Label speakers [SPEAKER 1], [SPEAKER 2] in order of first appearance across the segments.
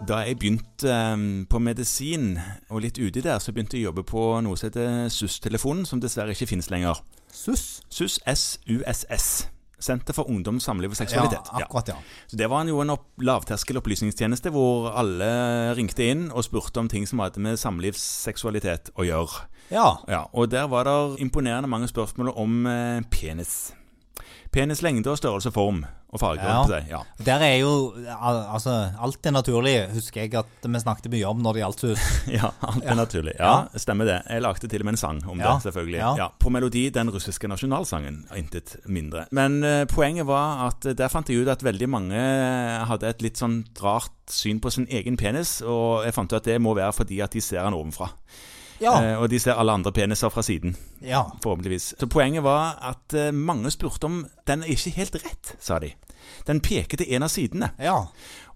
[SPEAKER 1] da jeg begynte eh, på medisin, og litt uti der, så begynte jeg å jobbe på noe som heter SUS-telefonen, som dessverre ikke finnes lenger.
[SPEAKER 2] Suss?
[SPEAKER 1] SUS, S-U-S-S. Senter for ungdom, samliv og seksualitet. Ja.
[SPEAKER 2] akkurat, ja.
[SPEAKER 1] Så Det var en, jo en opp, lavterskel opplysningstjeneste hvor alle ringte inn og spurte om ting som hadde med samlivsseksualitet å gjøre.
[SPEAKER 2] Ja,
[SPEAKER 1] Ja, og der var det imponerende mange spørsmål om eh, penis. Penis lengde og størrelse, form og farge.
[SPEAKER 2] Ja.
[SPEAKER 1] holdt på å si. Ja.
[SPEAKER 2] Der er jo al- altså, alt det naturlige, husker jeg at vi snakket mye om når det gjaldt sus.
[SPEAKER 1] ja, alt er naturlig. Ja, stemmer det. Jeg lagde til og med en sang om
[SPEAKER 2] Ja.
[SPEAKER 1] det, selvfølgelig.
[SPEAKER 2] Ja.
[SPEAKER 1] Ja. på melodi den russiske nasjonalsangen, intet mindre. Men eh, poenget var at eh, der fant jeg ut at veldig mange hadde et litt sånn rart syn på sin egen penis, og jeg fant ut at det må være fordi at de ser den ovenfra.
[SPEAKER 2] Ja,
[SPEAKER 1] Eh, og de ser alle andre peniser fra siden,
[SPEAKER 2] ja.
[SPEAKER 1] forhåpentligvis. Så poenget var at eh, mange spurte om den er ikke helt rett, sa de. Den peker til en av sidene.
[SPEAKER 2] Ja.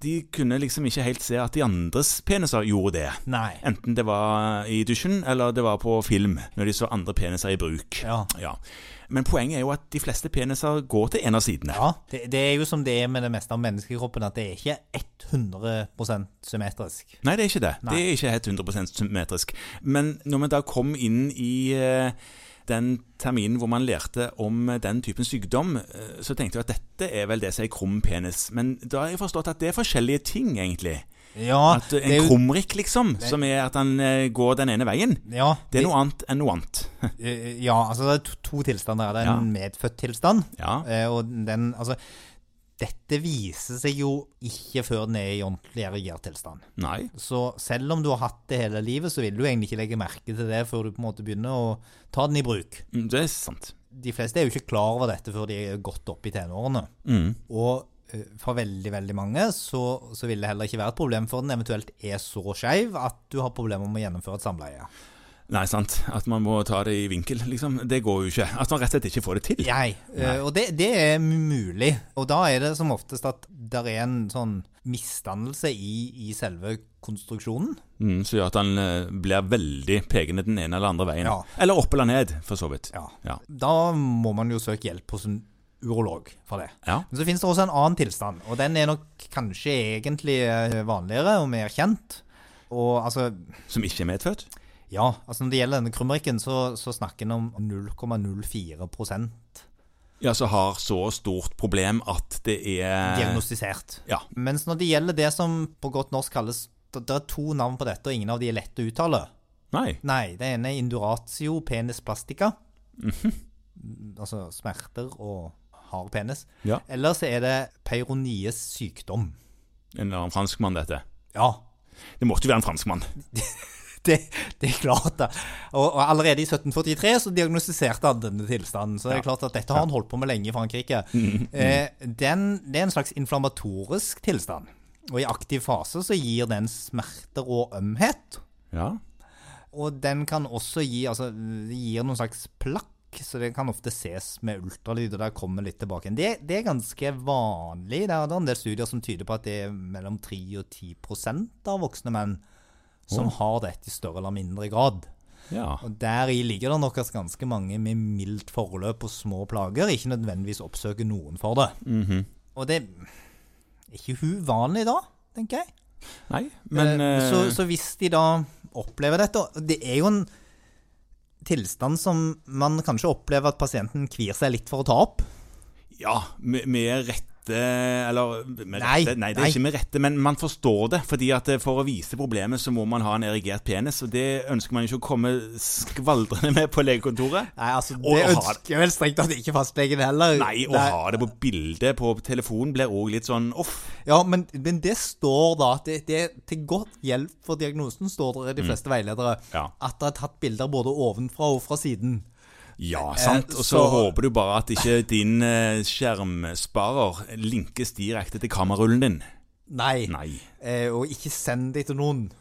[SPEAKER 1] De kunne liksom ikke helt se at de andres peniser gjorde det.
[SPEAKER 2] Nei.
[SPEAKER 1] Enten det var i dusjen, eller det var på film, når de så andre peniser i bruk.
[SPEAKER 2] Ja.
[SPEAKER 1] Men poenget er jo at de fleste peniser går til en av sidene.
[SPEAKER 2] Ja, det, det er jo som det er med det meste av menneskekroppen, at det er ikke 100 symmetrisk.
[SPEAKER 1] Nei, det er ikke det.
[SPEAKER 2] Nei.
[SPEAKER 1] Det er ikke helt 100 symmetrisk. Men når vi da kom inn i eh, den terminen hvor man lærte om eh, den typen sykdom, eh, så tenkte jeg at dette er vel det som er krum penis. Men da har jeg forstått at det er forskjellige ting, egentlig.
[SPEAKER 2] Ja,
[SPEAKER 1] At eh,
[SPEAKER 2] det er
[SPEAKER 1] en
[SPEAKER 2] jo-
[SPEAKER 1] krumrikk, liksom, som er at den eh, går den ene veien,
[SPEAKER 2] Ja,
[SPEAKER 1] det er noe annet enn noe annet.
[SPEAKER 2] eh, ja, altså det er to, to tilstander. Det er en medfødt tilstand,
[SPEAKER 1] Ja.
[SPEAKER 2] eh, og den Altså, dette viser seg jo ikke før den er i ordentlig erigert tilstand.
[SPEAKER 1] Nei.
[SPEAKER 2] Så selv om du har hatt det hele livet, så vil du egentlig ikke legge merke til det før du på en måte begynner å ta den i bruk.
[SPEAKER 1] Mm, Det er sant.
[SPEAKER 2] de fleste er jo ikke klar over dette før de er godt opp i tenårene. Og eh, for veldig, veldig mange så, så vil det heller ikke være et problem for den eventuelt er så skeiv at du har problemer med å gjennomføre et samleie.
[SPEAKER 1] Nei, sant. At man må ta det i vinkel, liksom. Det går jo ikke. At man rett og slett ikke får det til.
[SPEAKER 2] Nei. eh, og det, det er mulig. Og da er det som oftest at det er en sånn misdannelse i, i selve konstruksjonen.
[SPEAKER 1] Mm, så gjør at han eh, blir veldig pekende den ene eller andre veien.
[SPEAKER 2] Ja.
[SPEAKER 1] Eller opp eller ned, for så vidt.
[SPEAKER 2] Ja.
[SPEAKER 1] Ja.
[SPEAKER 2] Da må man jo søke hjelp hos en urolog for det.
[SPEAKER 1] Ja.
[SPEAKER 2] Men så finnes det også en annen tilstand, og den er nok kanskje egentlig eh, vanligere og mer kjent. Og altså,
[SPEAKER 1] Som ikke er medfødt.
[SPEAKER 2] ja, altså når det gjelder denne krumrikken, så, så snakker en om 0,04
[SPEAKER 1] Ja, som har så stort problem at det er
[SPEAKER 2] diagnostisert.
[SPEAKER 1] Ja.
[SPEAKER 2] Mens når det gjelder det som på godt norsk kalles Det det er to navn på dette, og ingen av de er lette å uttale.
[SPEAKER 1] Nei.
[SPEAKER 2] Nei, det ene er induratio penis plastica. Altså smerter og hard penis.
[SPEAKER 1] Ja.
[SPEAKER 2] Eller så er det peironies sykdom.
[SPEAKER 1] En eller annen franskmann, dette.
[SPEAKER 2] Ja,
[SPEAKER 1] Det måtte jo være en franskmann.
[SPEAKER 2] det, det er klart, da. Og, og allerede i 1743 så diagnostiserte han denne tilstanden. Så det er klart at dette har han holdt på med lenge i Frankrike. Eh, den, det er en slags inflammatorisk tilstand. Og i aktiv fase så gir den smerter og ømhet.
[SPEAKER 1] Ja.
[SPEAKER 2] Og den kan også gi altså, det gir noen slags plakk, så det kan ofte ses med ultralyd. Og der kommer vi litt tilbake. igjen. Det, det er ganske vanlig. Det er det en del studier som tyder på at det er mellom 3 og 10 av voksne menn som har dette i større eller mindre grad.
[SPEAKER 1] Ja.
[SPEAKER 2] Og Deri ligger det nok at ganske mange med mildt forløp og små plager ikke nødvendigvis oppsøker noen for det. Og det er ikke uvanlig da, tenker jeg.
[SPEAKER 1] Nei, men
[SPEAKER 2] Eh, så,
[SPEAKER 1] eh,
[SPEAKER 2] så hvis de da opplever dette og Det er jo en tilstand som man kanskje opplever at pasienten kvir seg litt for å ta opp.
[SPEAKER 1] Ja, med, med rette Eller med
[SPEAKER 2] Nei,
[SPEAKER 1] rette, nei, det er
[SPEAKER 2] nei.
[SPEAKER 1] ikke med rette, men man forstår det. fordi at eh, For å vise problemet så må man ha en erigert penis, og det ønsker man ikke å komme skvaldrende med på legekontoret.
[SPEAKER 2] Nei, altså,
[SPEAKER 1] Og
[SPEAKER 2] Det
[SPEAKER 1] har-
[SPEAKER 2] ønsker jeg vel strengt tatt ikke fastlegen heller.
[SPEAKER 1] Nei, å
[SPEAKER 2] Det-
[SPEAKER 1] ha det på bildet på telefonen blir òg litt sånn off.
[SPEAKER 2] Ja, men, men det står da at det, det er til godt hjelp for diagnosen, står det i de fleste veiledere,
[SPEAKER 1] Mm. Ja.
[SPEAKER 2] at det er tatt bilder både ovenfra og fra siden.
[SPEAKER 1] Ja, sant. Og så
[SPEAKER 2] Eh, så-
[SPEAKER 1] håper du bare at ikke din eh, skjermsparer linkes direkte til kamerarullen din.
[SPEAKER 2] Nei.
[SPEAKER 1] Nei.
[SPEAKER 2] Eh, og ikke send de til noen.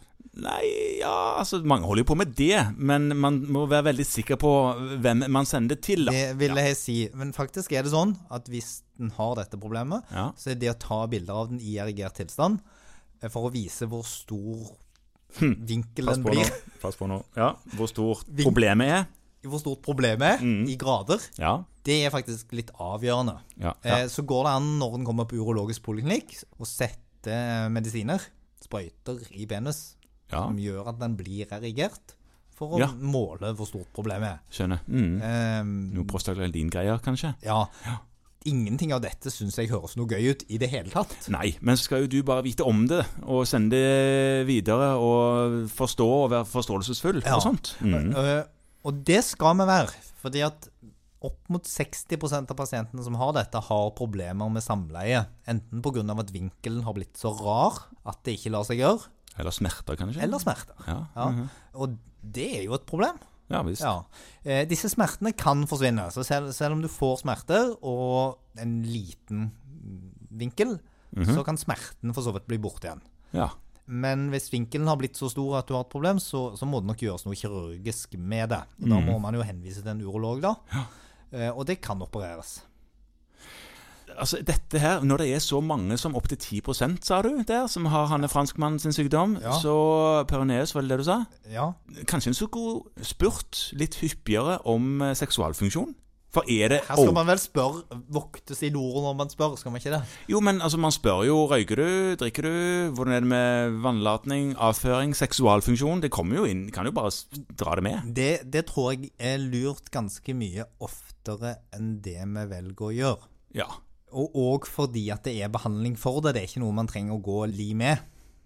[SPEAKER 1] Nei, ja, altså Mange holder jo på med det, men man må være veldig sikker på hvem man sender det til. da.
[SPEAKER 2] Det vil jeg si. Men faktisk er det sånn at hvis den har dette problemet,
[SPEAKER 1] Ja.
[SPEAKER 2] så er det å ta bilder av den i erigert tilstand eh, for å vise hvor stor vinkel
[SPEAKER 1] Hm. Pass
[SPEAKER 2] den
[SPEAKER 1] på nå.
[SPEAKER 2] blir,
[SPEAKER 1] Pass på nå. Ja, hvor stort problemet er.
[SPEAKER 2] hvor stort problemet er
[SPEAKER 1] Mhm.
[SPEAKER 2] i grader,
[SPEAKER 1] Ja.
[SPEAKER 2] det er faktisk litt avgjørende.
[SPEAKER 1] Ja, ja.
[SPEAKER 2] Eh, så går det an når den kommer på urologisk poliklinikk, å sette eh, medisiner. sprøyter i penis
[SPEAKER 1] Ja,
[SPEAKER 2] som gjør at den blir erigert, for å
[SPEAKER 1] Ja.
[SPEAKER 2] måle hvor stort problemet er.
[SPEAKER 1] skjønner. Mm.
[SPEAKER 2] Ehm,
[SPEAKER 1] Noe prostaglandin-greier, kanskje?
[SPEAKER 2] ja. Ingenting av dette syns jeg høres noe gøy ut i det hele tatt.
[SPEAKER 1] Nei, men så skal jo du bare vite om det, og sende det videre, og forstå og være forståelsesfull
[SPEAKER 2] Ja.
[SPEAKER 1] og sånt. Mm.
[SPEAKER 2] Eh, og det skal vi være, fordi at opp mot 60 av pasientene som har dette, har problemer med samleie. Enten pga. at vinkelen har blitt så rar at det ikke lar seg gjøre,
[SPEAKER 1] Eller smerter, kanskje?
[SPEAKER 2] eller smerter.
[SPEAKER 1] Ja,
[SPEAKER 2] Ja.
[SPEAKER 1] mhm.
[SPEAKER 2] Og det er jo et problem.
[SPEAKER 1] ja visst.
[SPEAKER 2] Ja. Eh, disse smertene kan forsvinne. Så selv, selv om du får smerter og en liten vinkel,
[SPEAKER 1] Mhm.
[SPEAKER 2] så kan smerten for så vidt bli borte igjen.
[SPEAKER 1] Ja.
[SPEAKER 2] Men hvis vinkelen har blitt så stor at du har et problem, så, så må det nok gjøres noe kirurgisk med det. Og da må man jo henvise til en urolog, da. Eh, og det kan opereres.
[SPEAKER 1] Altså, dette her, Når det er så mange som opptil 10 sa du, der, som har Hanne franskmannen sin sykdom,
[SPEAKER 2] Ja.
[SPEAKER 1] så Peroneus, var det det du sa?
[SPEAKER 2] Ja.
[SPEAKER 1] Kanskje en skulle spurt litt hyppigere om eh, seksualfunksjon? For er det
[SPEAKER 2] Her skal
[SPEAKER 1] oh,
[SPEAKER 2] man vel spørre Vokte silorer når man spør, skal man ikke det?
[SPEAKER 1] Jo, men altså, man spør jo røyker du, drikker du, hvordan er det med vannlatning, avføring, seksualfunksjon? Det kommer jo inn, kan jo bare s- dra det med.
[SPEAKER 2] Det, det tror jeg er lurt ganske mye oftere enn det vi velger å gjøre.
[SPEAKER 1] Ja.
[SPEAKER 2] Og òg fordi at det er behandling for det. Det er ikke noe man trenger å gå li med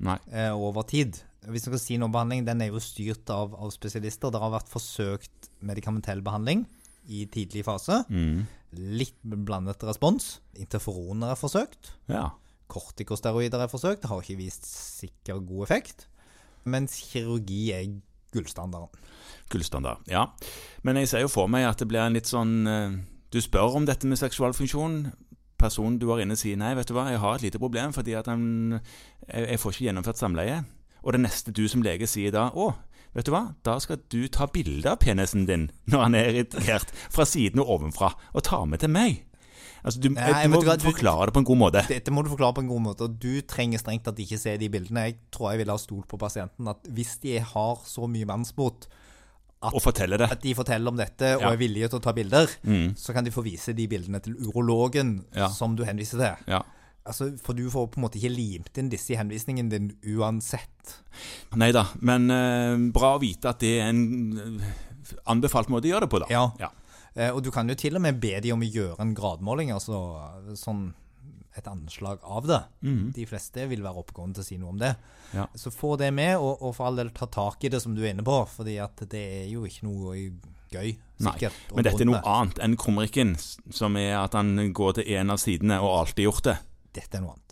[SPEAKER 1] Nei.
[SPEAKER 2] eh, over tid. Hvis vi skal si noe om behandling, Den er jo styrt av, av spesialister. Det har vært forsøkt medikamentell behandling i tidlig fase. Litt blandet respons. Interferoner er forsøkt.
[SPEAKER 1] Ja.
[SPEAKER 2] Kortikosteroider er forsøkt. Det har ikke vist sikker god effekt. Mens kirurgi er gullstandarden.
[SPEAKER 1] Gullstandard. Ja. Men jeg ser jo for meg at det blir en litt sånn eh, Du spør om dette med seksualfunksjon. Personen du har inne sier nei, vet du hva, jeg har et lite problem fordi at han, jeg, jeg får ikke gjennomført samleie. Og det neste du som lege sier da, å, vet du hva, da skal du ta bilde av penisen din når han er irritert, fra siden og ovenfra, og ta med til meg. Altså, du,
[SPEAKER 2] Nei,
[SPEAKER 1] du må
[SPEAKER 2] vet du hva, du-
[SPEAKER 1] forklare det på en god måte.
[SPEAKER 2] Dette må du forklare på en god måte, og du trenger strengt tatt ikke se de bildene. Jeg tror jeg ville ha stolt på pasienten at hvis de har så mye mannsmot
[SPEAKER 1] Og fortelle det.
[SPEAKER 2] at de forteller om dette og
[SPEAKER 1] Ja. Mm.
[SPEAKER 2] er villige til å ta bilder, så kan de få vise de bildene til urologen
[SPEAKER 1] Ja.
[SPEAKER 2] som du henviser til.
[SPEAKER 1] Ja.
[SPEAKER 2] Altså, for du får på en måte ikke limt inn disse i henvisningen din uansett.
[SPEAKER 1] Nei da, men eh, bra å vite at det er en eh, anbefalt måte å gjøre det på, da.
[SPEAKER 2] Ja.
[SPEAKER 1] ja.
[SPEAKER 2] Eh, og du kan jo til og med be de om å gjøre en gradmåling, altså sånn et anslag av det. De fleste vil være oppegående til å si noe om det.
[SPEAKER 1] Mm. Ja.
[SPEAKER 2] Så få det med, og, og for all del ta tak i det som du er inne på, fordi at det er jo ikke noe gøy,
[SPEAKER 1] Nei,
[SPEAKER 2] sikkert. å
[SPEAKER 1] men dette er
[SPEAKER 2] runde.
[SPEAKER 1] noe annet enn krumrikken, s- som er at han går til en av sidene og alltid gjort det.
[SPEAKER 2] Dette er noe annet.